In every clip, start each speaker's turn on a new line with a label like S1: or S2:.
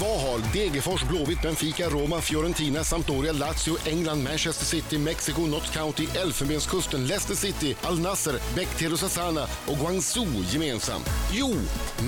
S1: Valhall, Degerfors, Blåvitt, Benfica, Roma, Fiorentina, Sampdoria, Lazio, England, Manchester City, Mexiko, Notts County, Elfenbenskusten, Leicester City, Al Nasser, Bekteru Sassana och Guangzhou gemensamt. Jo,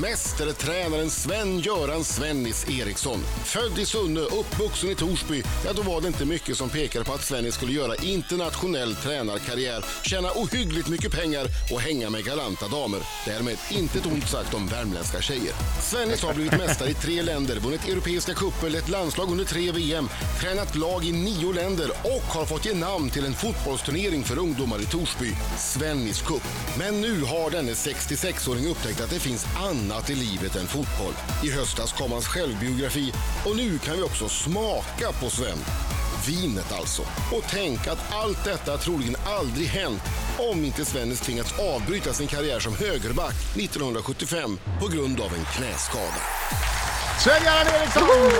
S1: mästertränaren Sven-Göran Svennis Eriksson. Född i Sunne, uppvuxen i Torsby, ja då var det inte mycket som pekade på att Svennis skulle göra internationell tränarkarriär, tjäna ohyggligt mycket pengar och hänga med galanta damer. Därmed inte ett ont sagt om värmländska tjejer. Svennis har blivit mästare i tre länder, vunnit europeiska cuper, lett landslag under tre VM, tränat lag i nio länder och har fått ge namn till en fotbollsturnering för ungdomar i Torsby, Svennis Cup. Men nu har denne 66-åring upptäckt att det finns annat i livet än fotboll. I höstas kom hans självbiografi och nu kan vi också smaka på Sven. Vinet alltså. Och tänk att allt detta troligen aldrig hänt om inte Svennis tvingats avbryta sin karriär som högerback 1975 på grund av en knäskada.
S2: Sven-Göran Eriksson!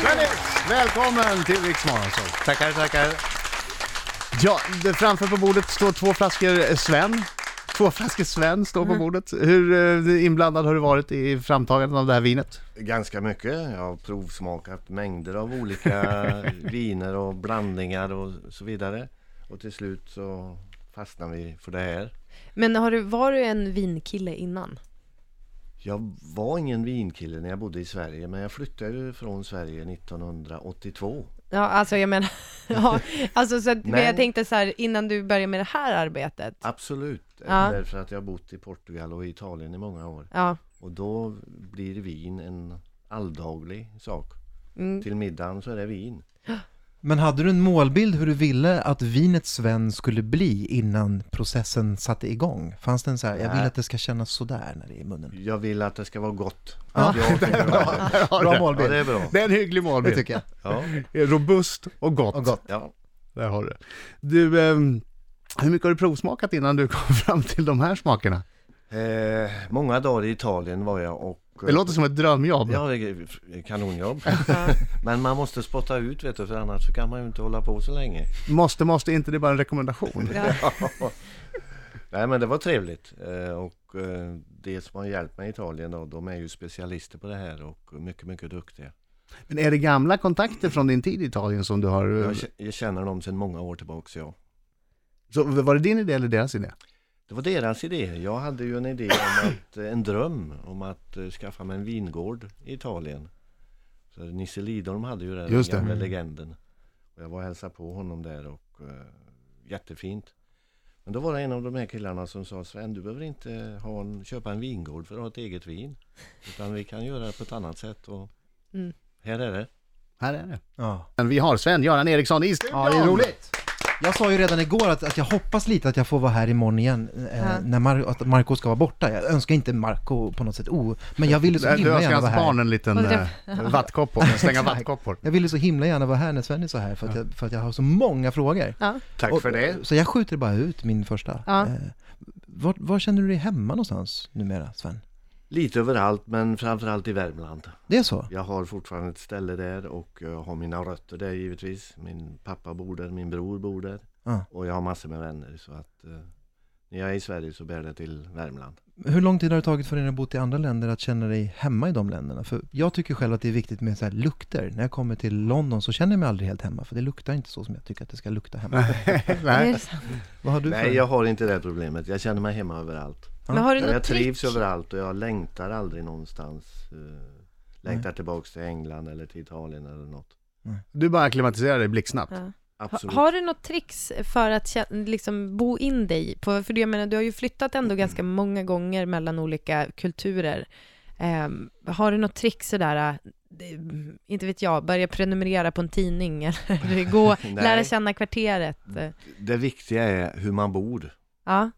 S2: Svennis, välkommen till Rix Morgonzoo.
S3: Tackar, tackar.
S2: Ja, det- framför på bordet står två flaskor eh, Sven. Två flaskor Sven står
S4: Mm.
S2: på bordet. Hur eh, inblandad har du varit i framtagandet av det här vinet?
S3: Ganska mycket. Jag har provsmakat mängder av olika viner och blandningar och så vidare. Och till slut så fastnar vi för det här.
S5: Men har du, var du en vinkille innan?
S3: Jag var ingen vinkille när jag bodde i Sverige men jag flyttade ju från Sverige 1982.
S5: Ja, alltså jag menar, ja, alltså så att, men
S3: Nej.
S5: jag tänkte så här, innan du började med det här arbetet.
S3: Absolut!
S5: Ja.
S3: Därför att jag har bott i Portugal och Italien i många år.
S5: Ja,
S3: Och då blir vin en alldaglig sak.
S5: Mm.
S3: Till middagen så är det vin.
S4: Men hade du en målbild hur du ville att vinet Sven skulle bli innan processen satte igång? Fanns det en så här, jag vill
S3: Nej.
S4: att det ska kännas sådär när det är i munnen?
S3: Jag vill att det ska vara gott.
S4: Ja.
S3: Jag tycker det är gott.
S4: Bra
S3: Ja,
S4: målbild.
S3: det är bra.
S2: Det är en hygglig
S4: Det
S2: målbild.
S4: tycker jag.
S3: Ja,
S2: Robust och gott.
S4: Och gott.
S3: ja.
S2: Där har du det. Du, ehm, hur mycket har du provsmakat innan du kom fram till de här smakerna?
S3: Eh, många dagar i Italien var jag och... eh,
S2: Det låter som ett drömjobb.
S3: Ja, det är kanonjobb.
S5: ja.
S3: Men man måste spotta ut vet du, för annars så kan man ju inte hålla på så länge.
S2: Måste, måste inte, det är bara en rekommendation.
S3: Nej men det var trevligt. Eh, och eh, det som har hjälpt mig i Italien då, de är ju specialister på det här och mycket, mycket duktiga.
S2: Men är det gamla kontakter från din tid i Italien som du har... eh,
S3: Jag, k- jag känner dem sedan många år tillbaks ja.
S2: Så var det din idé eller deras idé?
S3: Det var deras idé. Jag hade ju en idé om att, eh, en dröm om att eh, skaffa mig en vingård i Italien. Så Nisse Lidholm hade ju det,
S2: Just det. Mm.
S3: den gamla legenden. Och jag var och hälsade på honom där och eh, jättefint. Men då var det en av de här killarna som sa Sven, du behöver inte ha en, köpa en vingård för att ha ett eget vin. Utan vi kan göra det på ett annat sätt och
S5: Mm.
S3: här är det.
S2: Här är det.
S4: Ja.
S2: Men vi har Sven-Göran Eriksson i studion!
S4: Ja, det är roligt. Jag sa ju redan igår att, att jag hoppas lite att jag får vara här imorgon igen, eh,
S5: Ja.
S4: när Mar- att Marco ska vara borta. Jag önskar inte Marco på något sätt o... Men jag ville så
S2: Du
S4: himla
S2: önskar
S4: gärna vara
S2: hans barn
S4: här.
S2: en liten
S5: Och
S2: eh,
S5: det-
S2: vattkoppor, slänga vattkoppor.
S4: Jag ville så himla gärna vara här när Sven är så här, för att jag, för att jag har så många frågor.
S5: ja.
S3: Tack
S4: Och-
S3: för det.
S4: Så jag skjuter bara ut min första.
S5: Ja.
S4: Eh, var, var känner du dig hemma någonstans numera, Sven?
S3: Lite överallt men framförallt i Värmland.
S4: Det är så?
S3: Jag har fortfarande ett ställe där och jag har mina rötter där givetvis. Min pappa bor där, min bror bor där.
S4: Ja.
S3: Och jag har massor med vänner så att eh, när jag är i Sverige så bär det till Värmland.
S4: Hur lång tid har det tagit för dig när du bott i andra länder att känna dig hemma i de länderna? För jag tycker själv att det är viktigt med så här lukter. När jag kommer till London så känner jag mig aldrig helt hemma, för det luktar inte så som jag tycker att det ska lukta hemma.
S5: Är
S2: Nej.
S5: det sant?
S4: Vad har du för?
S3: Nej, jag har inte det här problemet. Jag känner mig hemma överallt.
S5: Men har du något
S3: Jag trivs
S5: trick?
S3: överallt och jag längtar aldrig någonstans. eh, Längtar tillbaks till England eller till Italien eller något.
S2: Du bara akklimatiserar dig blixtsnabbt.
S5: Ja. Ha,
S3: Absolut.
S5: har du något tricks för att kä- liksom bo in dig på, för det jag menar, du har ju flyttat
S3: Mm.
S5: ändå ganska många gånger mellan olika kulturer. Ehm, har du något trick sådär, äh, det- inte vet jag, börja prenumerera på en tidning eller gå,
S3: Nej. Mm.
S5: lära känna kvarteret? eh,
S3: Det viktiga är hur man bor.
S5: Ja,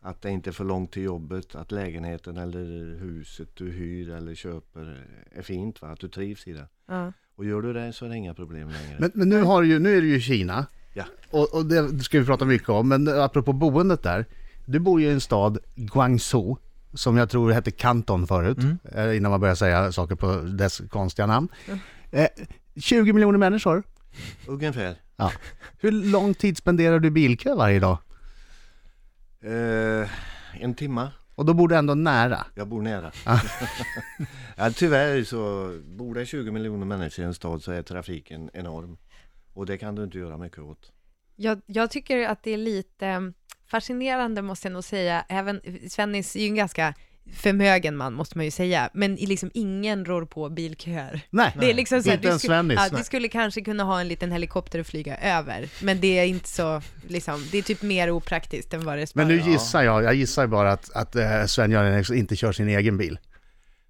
S3: Att det inte är för långt till jobbet, att lägenheten eller huset du hyr eller köper är fint va, att du trivs i det.
S5: ja.
S3: Och gör du det så är det inga problem längre.
S2: Men, men nu, har du ju, nu är du ju i Kina.
S3: Ja.
S2: Och, och det ska vi prata mycket om, men apropå boendet där. Du bor ju i en stad, Guangzhou, som jag tror hette Kanton förut,
S3: Mm.
S2: eh, innan man börjar säga saker på dess konstiga namn. Eh, 20 miljoner människor.
S3: Ungefär.
S2: Ja. Hur lång tid spenderar du i bilkö varje dag?
S3: Eh, en timma.
S2: Och då bor du ändå nära.
S3: Jag bor nära.
S5: Ah.
S3: ja, tyvärr så bor det 20 miljoner människor i en stad så är trafiken enorm. Och det kan du inte göra mycket åt.
S5: Jag, jag tycker att det är lite mm, fascinerande måste jag nog säga. Även, Svennis är ju en ganska förmögen man måste man ju säga, men i liksom ingen rår på bilköer.
S2: Nej,
S5: Det är liksom så här,
S2: inte
S5: vi
S2: ens
S5: sku-
S2: Svennis.
S5: Ja, vi skulle kanske kunna ha en liten helikopter och flyga över, men det är inte så, liksom, det är typ mer opraktiskt än vad det
S2: Men nu
S5: sparar.
S2: gissar jag, jag gissar bara att, att eh, Sven-Göran Eriksson inte kör sin egen bil.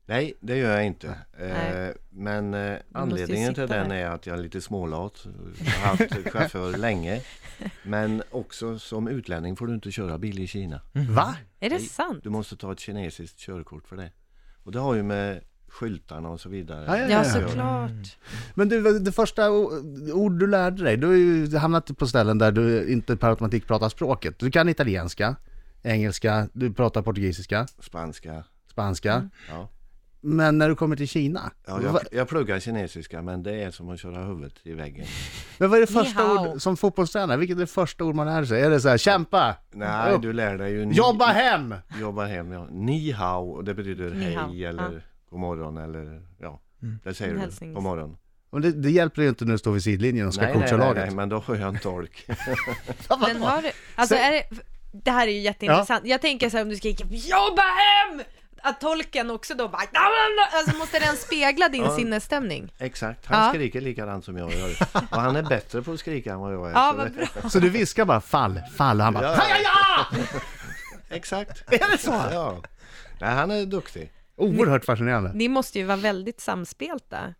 S3: Nej, det gör jag inte.
S5: Ah,
S3: Eh, men eh, anledningen till
S5: sitta
S3: den
S5: där.
S3: är att jag är lite smålat. Jag har haft chaufför länge. Men också som utlänning får du inte köra bil i Kina.
S2: Va?
S5: Är det
S3: Nej,
S5: sant?
S3: Du måste ta ett kinesiskt körkort för det. Och det har ju med skyltarna och så vidare.
S2: Ja, ja,
S5: Ja,
S2: jag gör det.
S5: såklart.
S2: Men du, det första o- ord du lärde dig, du har ju hamnat på ställen där du inte per automatik pratar språket. Du kan italienska, engelska, du pratar portugisiska,
S3: Spanska.
S2: spanska.
S5: Mm.
S3: Ja.
S2: Men när du kommer till Kina,
S3: Ja,
S2: va,
S3: jag, jag pluggar kinesiska men det är som att köra huvudet i väggen.
S2: men vad är det
S5: Ni
S2: första
S5: hao.
S2: ord som fotbollstränare? Vilket är det första ord man lär sig? Är det så här, kämpa,
S3: Nej,
S2: Upp.
S3: du lär dig ju... ni-
S2: jobba hem?
S3: Jobba hem, ja. Ni hao, och det betyder
S5: Ni hao,
S3: hej eller god morgon eller ja,
S2: Mm.
S3: det säger
S5: En
S3: du
S5: hälsnings-
S3: på morgon.
S2: Och det, det hjälper ju inte när du står vid sidlinjen och ska coacha laget.
S3: men då har jag en tolk.
S5: Men har du, alltså är det, det här är ju jätteintressant. Jag tänker så här om du skriker “jobba hem!” att tolken också då bara "Na, na, na." alltså måste den spegla din sinnesstämning?
S3: Exakt, han
S5: Ja.
S3: skriker likadant som jag gör. Och han är bättre på att skrika än vad jag är.
S5: Ja,
S3: så
S5: vad
S3: det-
S5: bra.
S2: Så du viskar bara fall, fall och han bara
S3: Ja.
S2: ja, ja, ja!
S3: Exakt.
S2: Är det så?
S3: Ja. Nej, han är duktig.
S2: Oerhört fascinerande.
S5: Ni måste ju vara väldigt samspelta.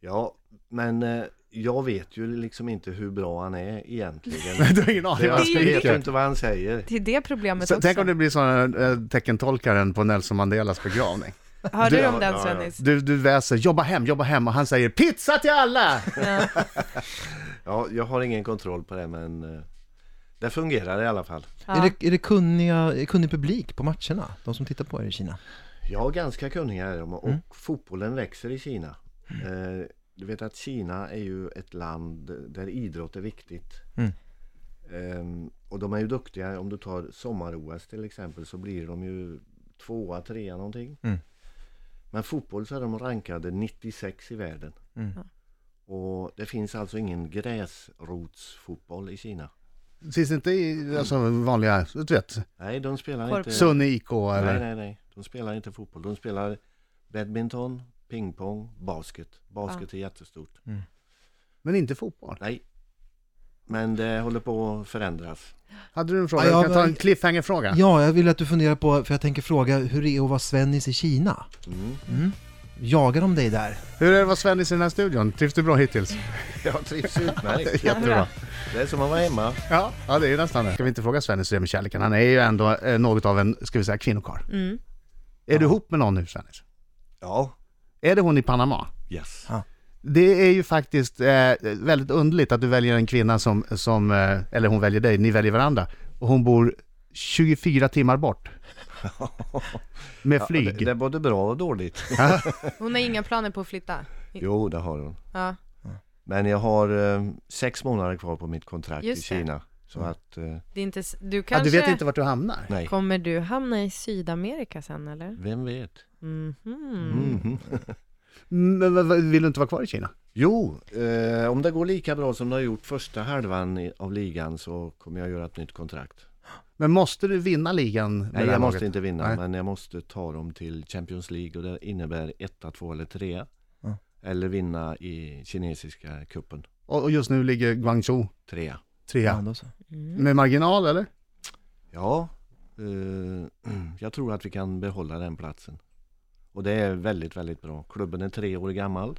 S3: Ja, men eh, jag vet ju liksom inte hur bra han är egentligen.
S2: Du har ingen aning vad
S3: jag
S2: han
S3: vet ju
S2: skriker.
S3: inte vad han säger.
S5: Det är det problemet
S2: Så,
S5: också.
S2: tänk om det blir sådana äh, teckentolkaren på Nelson Mandelas begravning.
S5: Hörde du
S3: Ja,
S5: om den
S3: ja, ja.
S5: Svennis?
S2: Du, du väser jobba hem, jobba hem och han säger pizza till alla!
S3: Ja, jag har ingen kontroll på det men eh, det fungerar i alla fall.
S5: Ja.
S4: Är det, är det kunniga, kunnig publik på matcherna? De som tittar på er i Kina?
S3: Ja, ganska kunniga är de och
S4: Mm.
S3: fotbollen växer i Kina. Eh, Du vet att Kina är ju ett land där idrott är viktigt.
S4: Mm.
S3: Ehm, Och de är ju duktiga, om du tar sommar-OS till exempel så blir de ju tvåa, trea någonting.
S4: Mm.
S3: Men fotboll så är de rankade 96 i världen.
S4: Mm.
S3: Och det finns alltså ingen gräsrotsfotboll i Kina.
S2: Finns inte i alltså, vanliga, du vet,
S3: Nej, de spelar
S5: Korp-
S3: inte...
S2: Sunne IK
S3: Nej,
S2: eller?
S3: nej, nej. De spelar inte fotboll. De spelar badminton, pingpong, basket. Basket är jättestort.
S2: Men inte fotboll.
S3: Nej. Men det håller på att förändras.
S2: Hade du en fråga?
S4: Ja,
S2: Jag kan
S4: men-
S2: ta en cliffhanger-fråga.
S4: Ja, jag vill att du funderar på, för jag tänker fråga, hur är det att vara Svennis i Kina?
S3: Mm.
S4: Jagar de dig där?
S2: Hur är det att vara Svennis i den här studion? Trivs du bra hittills?
S3: Jag trivs utmärkt.
S2: Jättebra.
S3: Det är som att vara hemma.
S2: Ja, ja det är nästan det. Ska vi inte fråga Svennis hur det är med kärleken? Han är ju ändå eh, något av en, ska vi säga, kvinnokarl.
S5: Mm.
S2: Är du ihop med någon nu Svennis?
S3: Ja.
S2: Är det hon i Panama?
S3: Yes.
S2: Det är ju faktiskt eh, väldigt underligt att du väljer en kvinna som, som eh, eller hon väljer dig, ni väljer varandra, och hon bor 24 timmar bort. Med flyg.
S3: Det, det är både bra och dåligt.
S5: Hon har inga planer på att flytta?
S3: Jo, det har hon.
S5: Ja.
S3: Men jag har eh, sex månader kvar på mitt kontrakt
S5: Just
S3: i
S5: det.
S3: Kina. Så att, eh,
S5: Det är inte, s- du
S2: ja,
S5: kanske...
S2: du vet inte vart du hamnar.
S3: nej.
S5: Kommer du hamna i Sydamerika sen eller?
S3: Vem vet?
S5: Mhm.
S3: Mhm.
S2: Men vad- vad- vill du inte vara kvar i Kina?
S3: Jo, eh, om det går lika bra som det har gjort första halvan i- av ligan så kommer jag göra ett nytt kontrakt.
S2: Men måste du vinna ligan med
S3: Nej,
S2: det här
S3: jag
S2: laget?
S3: måste inte vinna,
S2: Nej.
S3: men jag måste ta dem till Champions League och det innebär etta, två eller trea.
S4: Ja.
S3: Eller vinna i kinesiska kuppen,
S2: Och, och just nu ligger Guangzhou
S3: trea.
S2: trea.
S4: då så.
S5: Mm.
S2: Med marginal eller?
S3: Ja, eh, jag tror att vi kan behålla den platsen. Och det är väldigt, väldigt bra. Klubben är tre år gammal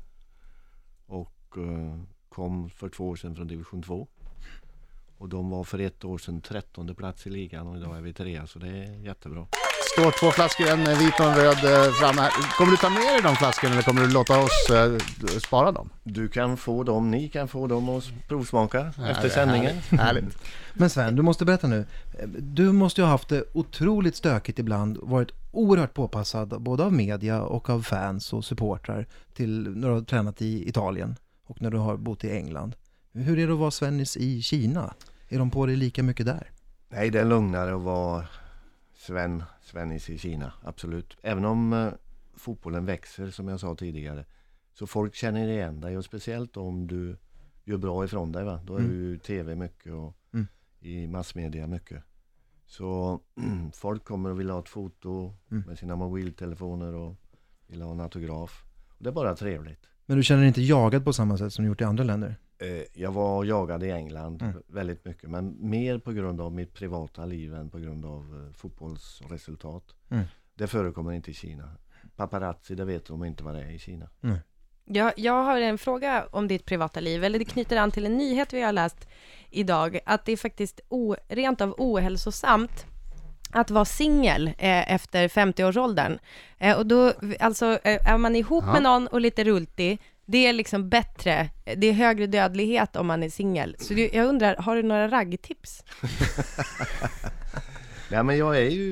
S3: och eh, kom för två år sedan från division 2. Och de var för ett år sedan trettonde plats i ligan och idag är vi trea, så det är jättebra.
S2: Står två flaskor, en vit och en röd eh, framme. här. Kommer du ta med dig de flaskorna eller kommer du låta oss eh, spara dem?
S3: Du kan få dem, ni kan få dem och provsmaka efter sändningen.
S2: Härligt.
S4: Men Sven, du måste berätta nu. Du måste ju ha haft det otroligt stökigt ibland, varit oerhört påpassad både av media och av fans och supportrar till när du har tränat i Italien och när du har bott i England. Hur är det att vara Svennis i Kina? Är de på dig lika mycket där?
S3: Nej, det är lugnare att vara Sven, Svennis i Kina, absolut. Även om eh, fotbollen växer, som jag sa tidigare, så folk känner igen dig och speciellt om du gör bra ifrån dig. Va? Då är
S4: Mm.
S3: du i tv mycket och
S4: Mm.
S3: i massmedia mycket. Så folk kommer och vill ha ett foto
S4: Mm.
S3: med sina mobiltelefoner och vill ha en autograf. Och det är bara trevligt.
S4: Men du känner dig inte jagad på samma sätt som du gjort i andra länder?
S3: Eh, Jag var jagad i England
S4: Mm.
S3: väldigt mycket, men mer på grund av mitt privata liv än på grund av eh, fotbollsresultat.
S4: Mm.
S3: Det förekommer inte i Kina. Paparazzi, det vet de inte vad det är i Kina.
S5: Jag, jag har en fråga om ditt privata liv, eller det knyter an till en nyhet vi har läst idag, att det är faktiskt o, rent av ohälsosamt att vara singel eh, efter 50-årsåldern. Eh, och då, alltså, eh, är man ihop
S2: Ja.
S5: med någon och lite rultig, det är liksom bättre, det är högre dödlighet om man är singel. Så det, jag undrar, har du några raggtips?
S3: Nej, men jag är ju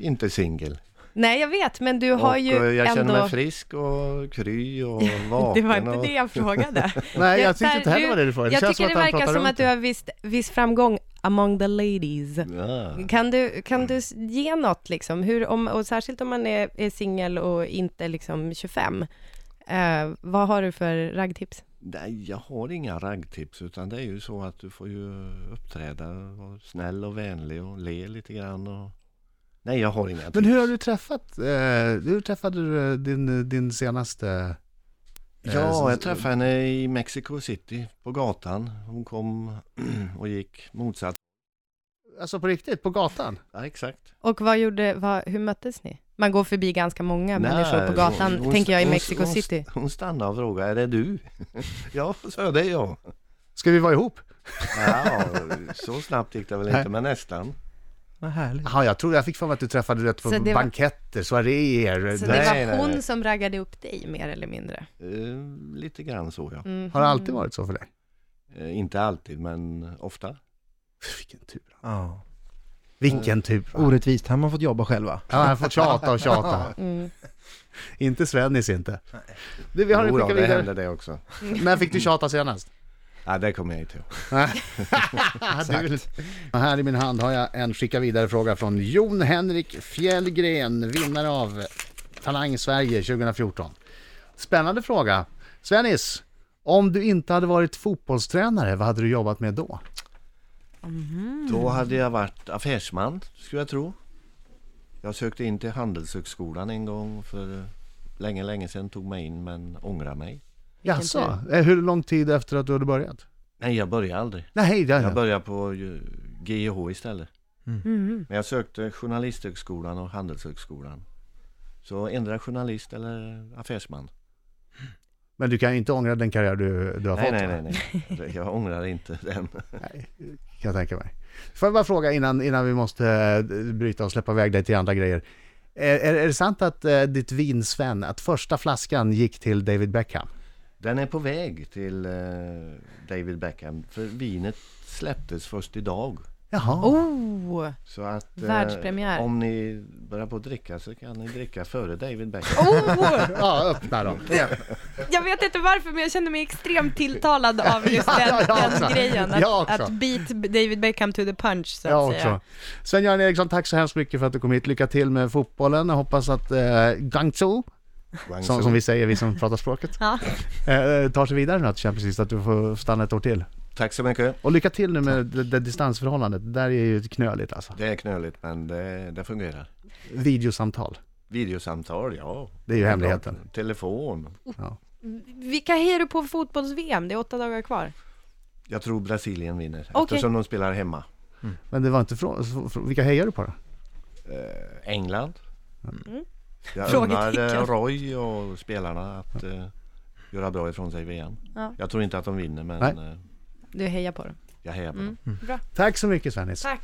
S3: inte singel.
S5: Nej, jag vet, men du har
S3: Och,
S5: ju
S3: eh, jag
S5: ändå...
S3: känner mig frisk och kry och vaken.
S5: Det var inte
S3: och...
S5: det jag frågade.
S2: Nej,
S5: Jag-
S2: jag tyckte inte
S5: Per,
S2: heller
S5: du-
S2: vad det du frågade.
S5: Jag
S2: känns
S5: tycker det
S2: att han
S5: verkar
S2: pratar
S5: som
S2: runt
S5: att du har visst, viss framgång among the ladies.
S3: Ja.
S5: Kan du, kan du s- ge något, liksom? Hur, om, och särskilt om man är, är singel och inte liksom 25, eh, vad har du för raggtips?
S3: Nej, jag har inga raggtips utan det är ju så att du får ju uppträda och vara snäll och vänlig och le lite grann. Och... Nej, jag har inga tips.
S2: Men hur har du träffat, eh, hur träffade du eh, din, din senaste... eh,
S3: Ja,
S2: s-
S3: jag träffade henne i Mexico City på gatan. Hon kom och gick motsatt.
S2: Alltså på riktigt, på gatan?
S3: Ja, exakt.
S5: Och vad gjorde, vad, hur möttes ni? Man går förbi ganska många
S3: Nej,
S5: människor på gatan,
S3: hon- hon-
S5: tänker jag, i
S3: hon-
S5: Mexico
S3: hon-
S5: City.
S3: Hon stannade och frågade, är det du? ja, sa jag, det är jag.
S2: Ska vi vara ihop?
S3: Ja, så snabbt gick det väl inte, men nästan.
S4: Vad härligt.
S2: Jaha, jag tror jag fick för mig att du träffade rätt på
S5: Så det var-
S2: banketter, soaréer.
S5: Så
S2: Nej.
S5: det var
S3: nej, nej.
S5: hon som raggade upp dig, mer eller mindre?
S3: Eh, lite grann så, ja.
S5: Mhm.
S2: Har det alltid varit så för dig?
S3: Eh, inte alltid, men ofta.
S2: Vilken tur.
S4: Ja.
S2: Vilken tur.
S3: Mm.
S4: Orättvist, han har fått jobba själva.
S2: Ja, han får tjata och tjata.
S5: Mm.
S2: Inte Svennis inte. Du, vi har en
S3: Jo då,
S2: skicka
S3: det
S2: vidare.
S3: hände det också.
S2: När fick du tjata senast?
S3: Ja, det kommer jag inte ihåg.
S2: du, här i min hand har jag en skicka vidare-fråga från Jon Henrik Fjällgren, vinnare av Talang Sverige 2014. Spännande fråga. Svennis, om du inte hade varit fotbollstränare, vad hade du jobbat med då?
S3: Då hade jag varit affärsman, skulle jag tro. Jag sökte in till Handelshögskolan en gång för länge, länge sedan tog mig in men ångrar mig.
S2: Jaså, eh, hur lång tid efter att du hade börjat?
S3: Nej, jag började aldrig.
S2: Nej, det
S3: Jag
S2: hade
S3: började på ju- GIH istället.
S5: Mhm.
S3: Men jag sökte Journalisthögskolan och Handelshögskolan. Så ändra journalist eller affärsman.
S2: Men du kan ju inte ångra den karriär du, du har
S3: Nej,
S2: fått?
S3: nej,
S2: va?
S3: nej, nej. Jag ångrar inte den.
S2: kan jag tänka mig. Får jag bara fråga innan, innan vi måste eh, bryta och släppa iväg dig till andra grejer. Är, är, är det sant att eh, ditt vin Sven, att första flaskan gick till David Beckham?
S3: Den är på väg till eh, David Beckham. För vinet släpptes först idag.
S2: Jaha.
S5: Oh!
S3: Så att, eh,
S5: Världspremiär.
S3: om ni börjar på att dricka så kan ni dricka före David Beckham.
S5: Oh!
S2: Ja, öppna då. Ja,
S5: Jag vet inte varför, men jag känner mig extremt tilltalad av just
S2: Ja,
S5: den,
S2: ja, jag också.
S5: den grejen. Att,
S2: Jag också.
S5: att beat David Beckham to the punch, så att
S2: jag
S5: säga.
S2: också. Sven-Göran Eriksson, tack så hemskt mycket för att du kom hit. Lycka till med fotbollen. Jag hoppas att eh, Guangzhou, som, som vi säger, vi som pratar språket,
S5: Ja.
S2: eh, tar sig vidare nu till Champions League, så att du får stanna ett år till.
S3: Tack så mycket.
S2: Och lycka till nu med det, det distansförhållandet. Det där är ju knöligt alltså.
S3: Det är knöligt men det, det fungerar.
S2: Videosamtal,
S3: Videosamtal, ja.
S2: det är ju hemligheten.
S3: Telefon.
S5: Vilka hejar du på för fotbolls-VM? Det är åtta dagar kvar.
S3: Jag tror Brasilien vinner
S5: Okej.
S3: eftersom de spelar hemma.
S2: Men det var inte från, vilka hejar du på då?
S3: Eh, England. Jag
S5: Mm. Frågetecken.
S3: unnar eh, Roy och spelarna att eh, göra bra ifrån sig i VM.
S5: Ja.
S3: Jag tror inte att de vinner men
S2: Nej.
S3: eh,
S5: Du hejar på dem.
S3: jag hejar på dem.
S5: Bra.
S2: Tack så mycket Svennis.
S5: Tack.